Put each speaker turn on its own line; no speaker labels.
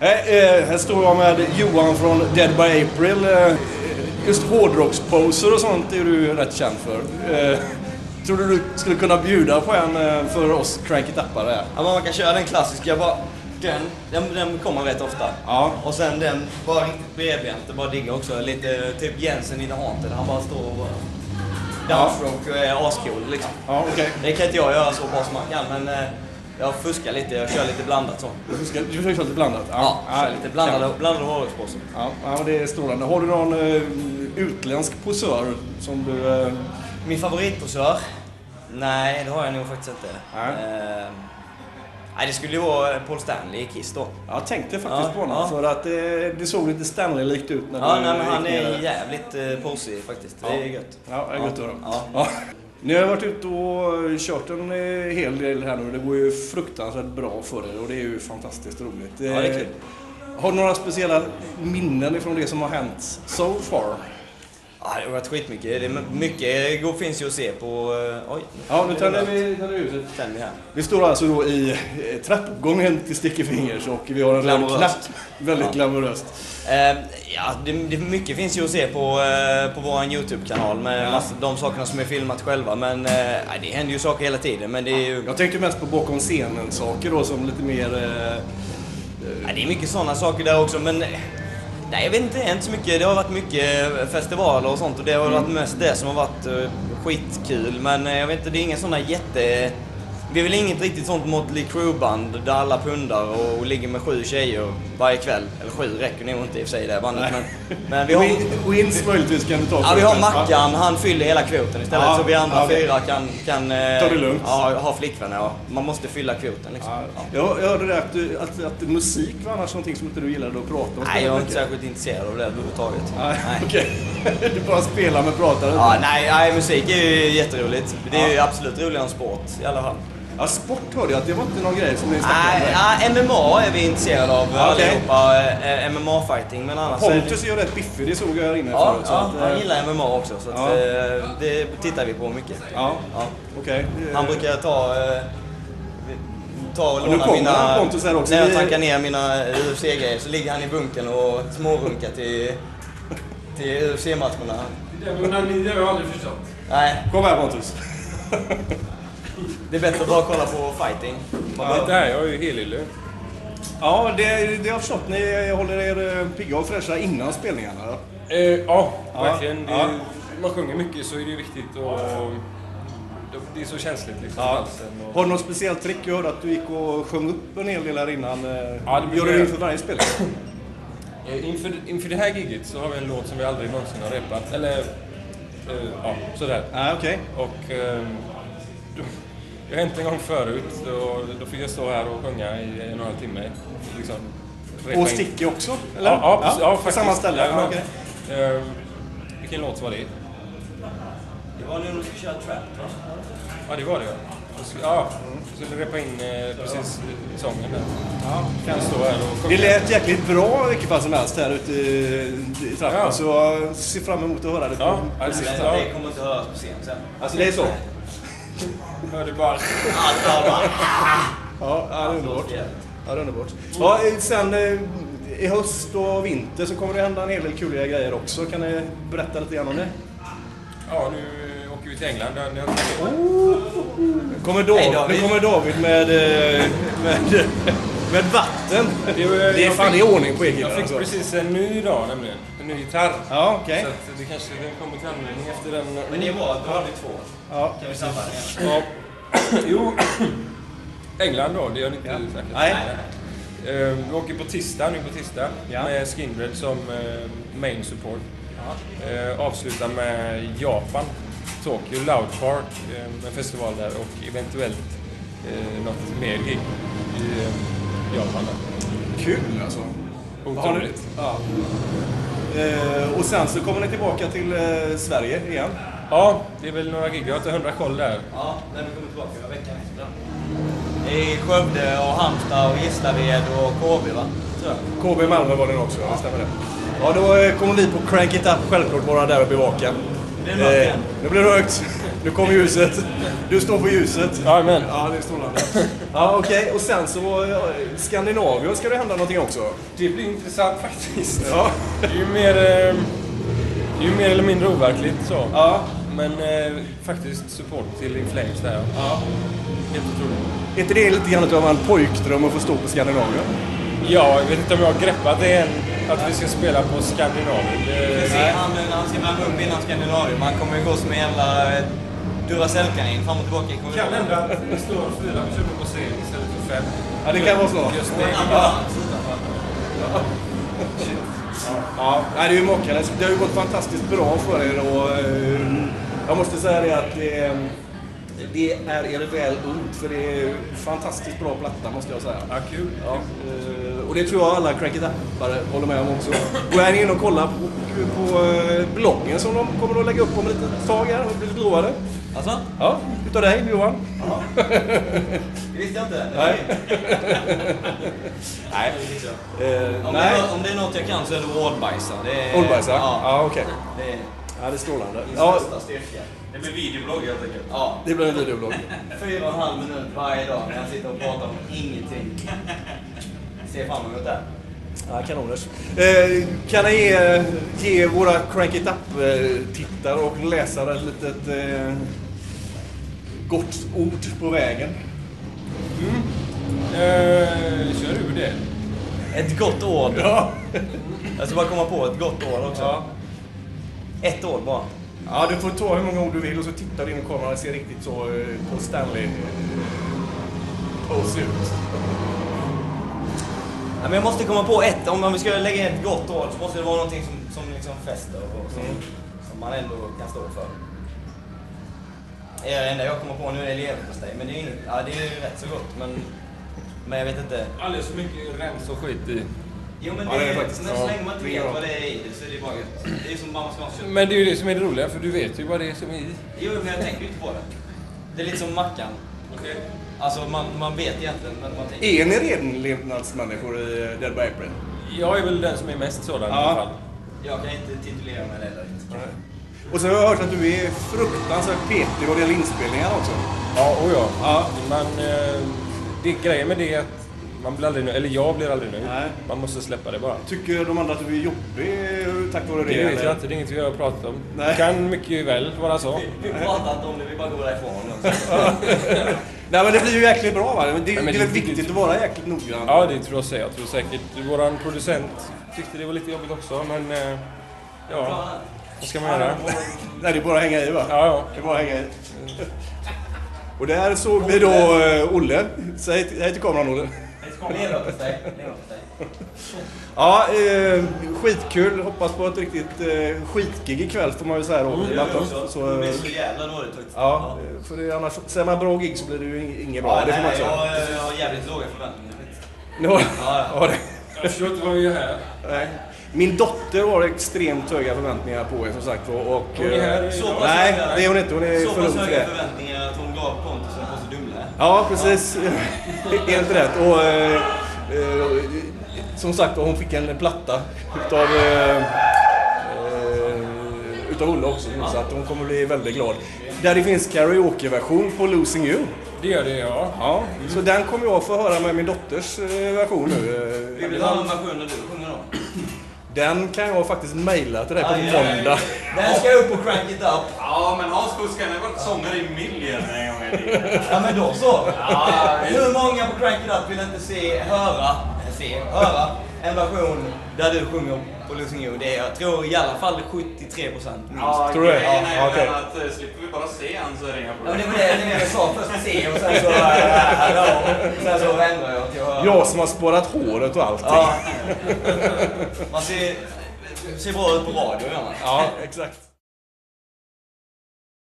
Nej, eh, här står jag med Johan från Dead by April. Eh, Just hårdrocksposer och sånt är du rätt känd för. Eh, Tror du du skulle kunna bjuda på en eh, för oss cranky tappare här?
Ja, men man kan köra den klassiska bara. Den, den, den kommer rätt ofta.
Ja.
Och sen den, bara riktigt bredbent, det bara digga också. Lite typ Jensen i The Haunted, han bara står och bara...
Ja.
Dansrock och är ascool liksom.
Ja, okej.
Det kan inte jag göra så bra som man kan, men eh, jag fuskar lite, jag kör lite blandat så.
Du ska- Du försöker köra lite blandat?
Ja, kör lite blandade, blandade hårdrockspåsar.
Ja, ja, men det är strålande. Har du någon eh, utländsk posör som du... eh,
Min favoritposör? Nej, det har jag nog faktiskt inte.
Nej.
Eh, nej, det skulle ju vara Paul Stanley i Kiss då.
Jag tänkte faktiskt
Ja,
på honom
ja.
för att eh, det, det såg lite Stanley-likt ut när
Ja,
du
nej, men han
gick ner
är
där.
jävligt eh, posig faktiskt. Det är gött.
Eh, Ja, det är gött att höra.
Ja.
Ja. Ni har varit ute och kört en eh, hel del här nu. Det går ju fruktansvärt bra för er och det är ju fantastiskt roligt. Eh,
Ja, det är kul.
Har du några speciella minnen ifrån det som har hänt so far?
Ja, det har varit skitmycket. Det är mycket god finns ju att se på... eh, Oj,
Ja, nu tänder
det
vi tänder ljuset.
tänder vi här.
Vi står alltså då i eh, trappuppgången till Sticky Fingers och vi har en röd
Glamoröst.
knapp. Väldigt
Ja.
glamoröst.
Eh, ja, det, det, mycket finns ju att se på, eh, på vår YouTube-kanal med
Ja.
massa, de sakerna som är filmat själva. Men eh, nej, det händer ju saker hela tiden. Men det är ju...
Jag tänkte mest på bakom scenen-saker då som lite mer... Eh,
Ja, det är mycket sådana saker där också, men... eh, Nej, jag vet inte, inte så mycket. Det har varit mycket festivaler och sånt och det har varit
Mm.
mest det som har varit eh, skitkul. Men eh, jag vet inte, det är inga sådana jätte... Det är väl inget riktigt sånt Motley Crue-band där alla pundar och, och ligger med sju tjejer varje kväll. Eller sju räcker nog inte i och för sig det bandet, men, men vi har...
Win- Wins möjligtvis kan du ta.
Ja,
för
vi har
det. Ja.
Mackan, han fyller hela kvoten istället
Ja,
så vi andra
ja, det-
fyra kan... kan eh,
Ta det lugnt.
Ja, ha flickvänner. Ja. Man måste fylla kvoten liksom.
Ja.
Ja.
Jag, jag hörde det att, du, att, att musik var annars någonting som inte du gillade att prata om.
Nej, jag är inte särskilt intresserad av det överhuvudtaget.
Nej, okej. Du bara spelar men pratar inte.
Ja, nej, nej, musik är ju jätteroligt. Det är ju absolut roligare än sport i alla fall.
Ja, sport hörde jag att det var inte någon grej som ni snackade om.
Nej, ja, MMA är vi intresserade av
Ja, okej.
allihopa. Eh, MMA-fighting, men annars... är det-
Pontus är ju rätt biffig, det såg jag här inne
alltså- Ja,
förut. så
ja
att, eh,
han gillar MMA också, så att,
Ja.
eh, det tittar vi på mycket.
Ja,
Ja.
okej.
Han brukar ta... eh, Ta och
nu
låna
kommer
mina...
han, Pontus, här också.
När jag
Vi-
tankar ner mina UFC-grejer så ligger han i bunkern och smårunkar till, till UFC-matcherna.
Det var ni, det har jag aldrig förstått.
Nej,
Kom här Pontus.
det är bättre att bara kolla på fighting. Man bara-
Det här, jag är ju helylle.
Ja, det, det har jag förstått. Ni håller er eh, pigga och fräscha innan spelningarna. då.
Eh, ja, verkligen. Det är,
ja.
Man sjunger mycket så är det ju viktigt och... Det är så känsligt liksom.
Ja.
halsen och-
Har du något speciellt trick? Jag hörde att du gick och sjöng upp en hel del här innan. eh,
Ja, det brukar
Gör du det
jag.
inför varje spelning?
Eh, Inför, inför det här giget så har vi en låt som vi aldrig någonsin har repat. Eller... Eh, ja, sådär.
Nej, okej.
Och... ehm, då- det har hänt en gång förut. Då, då fick jag stå här och sjunga i en och en halv timme. Liksom, repa
Och
in-
Sticky också? Eller?
Ja, ja, precis, ja,
på
faktiskt.
samma ställe?
Ja,
okej.
ja. Ehm, vilken låt var det?
Det var nu när du skulle köra trap alltså. va?
Ja, det var det ja. Jag skulle, ja, jag skulle repa in eh, precis sången där.
Ja.
Kan stå här och sjunga.
Det lät jäkligt bra i vilket fall som helst här ute i i trappan.
Ja.
Så jag ser fram emot att höra det. på-
Ja, ja,
precis.
det-
Ja.
kommer inte höras på scen sen.
Alltså det är så?
Hörde bara...
Allt bara bara...
Ja, ja det är underbart. Ja, det är underbart. Ja, eh, sen eh, i höst och vinter så kommer det hända en hel del kuliga grejer också. Kan ni berätta lite grann om det?
Ja, nu åker vi till England. Där, där,
Kommer David,
Hej, David.
Nu kommer David med, eh, med, med vatten.
Det är-
Det är
jag
fan
fick-
i ordning på Egil.
jag fick
Alltså.
precis en ny idag nämligen. En ny gitarr.
Ja, okej.
Så att det kanske den kommer till användning efter den.
Men det är bra, då har vi två.
Ja.
Kan vi samla det igen?
Ja. jo. England då, det har ni inte snackat om.
Nej.
Eh, Vi åker på tisdag, nu på tisdag,
Ja.
med Skinred som eh, main support. Eh, Avslutar med Japan, Tokyo Loud Park, eh, en festival där och eventuellt eh, något mer gig i eh, Japan. där.
Kul alltså. Har ni,
Otroligt.
ja. Eh, och sen så kommer ni tillbaka till eh, Sverige igen.
Ja, det är väl några gig. Jag har inte hundra koll där.
Ja, när vi kommer tillbaka veckan efter. I Skövde och Halmstad och Gislaved och KB va? Tror jag.
KB Malmö var den också, ja. stämmer det. Ja, då eh, kommer vi på Crank It Up självklart vara där och bevaka.
Det blir mörkt igen.
nu blir det mörkt. Nu kommer ljuset. Du står på ljuset.
Jajamän.
Ja, det är strålande. Ja, okej. Och sen så eh, Skandinavien ska det hända någonting också.
Det blir intressant faktiskt.
Ja.
Det är ju mer, eh, det är ju mer eller mindre overkligt så.
ja.
Men eh, faktiskt support till In Flames där ja. Helt otroligt.
Är inte det lite grann utav en pojkdröm att få stå på Skandinavien?
Ja, jag vet inte om jag har greppat det än. Att vi ska spela på Skandinavien. Eh,
Vi
Det,
ser han när han ska värma upp innan Skandinavien. Man kommer ju gå som en jävla eh, Duracellkanin fram och tillbaka. Kommer vi-
kan hända att det står fyra personer på scen istället för fem.
Ja, det kan vara så.
Just
En
det.
ambulans utanför.
Ja, nej, det är ju mockandes. Det har ju gått fantastiskt bra för er och eh, jag måste säga det att det, det är er väl ont för det är en fantastiskt bra platta måste jag säga.
Ja, kul.
Ja, eh, och det tror jag alla Crank It Up-are håller med om också. Gå gärna in och kolla på, på eh, bloggen som de kommer att lägga upp om ett litet tag här. Har blivit lovade.
Alltså?
Ja, utav dig Johan.
Det visste jag inte.
Nej.
Nej.
Eh,
Om, det
nej.
är, om det är något jag kan så är det ordbajsa. Det är-
Oldbajsa? Ja,
Ja.
ja okej.
Det är
Ja, det är strålande.
min
Ja,
största styrka.
Det blir videoblogg helt enkelt.
Ja.
det blir en videoblogg.
Fyra och en halv minut varje dag när jag sitter och pratar om ingenting. Ser fram emot det.
Ja, kanoners. Eh, kan ni ge, ge våra Crank It Up-tittare och läsare ett litet eh, gott ord på vägen?
Eh, kör du det?
Ett gott ord.
Ja,
Jag ska bara komma på ett gott ord också.
ja.
Ett ord bara.
ja du får ta hur många ord du vill och så tittar du in i kameran och ser riktigt så eh, på Stanley eh, pose ut.
Ja, men jag måste komma på ett. Om om vi ska lägga ett gott ord så måste det vara någonting som, som liksom fäster och som, som man ändå kan stå för. Det är det enda jag kommer på nu är leverpastej. Men det är, inget, ja, det är ju rätt så gott. Men, men jag vet inte.
Alldeles för mycket rens och skit i.
Jo men
Ja,
det,
det är
är
faktiskt-
men
ja,
så länge man inte
det är
vet
bra.
vad det är i det så är det ju bara gött. Det är ju som mamma ska ha kött.
Men det är ju det som är det roliga, för du vet ju vad det är som är i.
Jo men jag tänker ju inte på det. Det är lite som mackan.
Okej.
Alltså man, man vet egentligen men man tänker.
Är ni redan levnadsmänniskor i eh, Dead by April?
Jag är väl den som är mest sådan i alla fall.
Jag kan inte titulera mig det heller.
Och så har jag hört att du är fruktansvärt petig vad det gäller inspelningar också.
Ja, och ja.
Ja.
Man, eh, det grejen med det är att man blir aldrig nöjd, eller jag blir aldrig nöjd.
Nej.
Man måste släppa det bara.
Tycker de andra att du är jobbig eh, tack vare det?
Det vet
eller?
jag inte, det är inget vi har pratat om.
Nej.
Det kan mycket väl vara så.
Vi pratar inte om det, vi bara går därifrån. Också.
Nej men det blir ju jäkligt bra va? Men det,
men
det är
det-
väl viktigt att vara jäkligt noggrann?
Ja, det tror jag så. Jag tror säkert våran producent tyckte det var lite jobbigt också, men... Eh, ja, vad ska man göra?
Nej, det är bara att hänga i va?
Ja, ja.
Det är bara att hänga i. Och där såg vi då eh, Olle. Säg till- hej till kameran Olle.
Leverpastej, leverpastej.
Ja, eh, skitkul. Hoppas på ett riktigt eh, skitgig ikväll får man ju säga då.
Det gör vi också.
Mm. Så,
Det
eh,
blir så jävla dåligt faktiskt.
ja, eh, för det, annars, säger man bra gig så blir det ju ing- inget bra.
Ja,
det får
nej,
man
nej,
ju
jag,
säga.
jag har jävligt låga förväntningar. faktiskt.
Nu har-
Ja, ja.
Ja, det-
Jag förstår inte vad vi gör här.
nej. Min dotter har extremt höga förväntningar på er som sagt och... och
Hon är
eh,
här idag.
Så pass
Nej,
höga-
det är hon inte. Hon är
Så
för ung
pass
för det.
höga förväntningar att hon gav Pontus en påse Dumle.
Ja, precis. Helt rätt. Och, eh, eh, som sagt hon fick en platta utav, eh, eh, utav Olle också. Så att hon kommer bli väldigt glad. Där det finns karaokeversion på Losing You.
Det gör det, ja.
Ja. Så den kommer jag få höra med min dotters eh, version
Vi
nu.
vill
Eh,
ha en version när du sjunger då.
Den kan jag faktiskt mejla till dig på
Aj, aj, aj.
måndag.
Den ska upp och crank it up.
Ja, men Hans Fuskan har varit sångare i Million en gång i tiden.
Ja men då så. Hur många på Crank It Up vill inte se, höra, se, höra en version där du sjunger på Losing You? Det är, jag tror i alla fall 73 procent minst. Ja,
Tror du det?
grejen är
Ja,
ju
okej.
den att eh, slipper vi bara se han så är det inga
men
problem.
det var det, det var det jag sa. Först se och sen så, eh, hallå. Sen så ändrar jag till att höra.
Jag som har sparat håret och allting.
Ja. Man ser, ser bra ut på radio i alla fall.
ja exakt.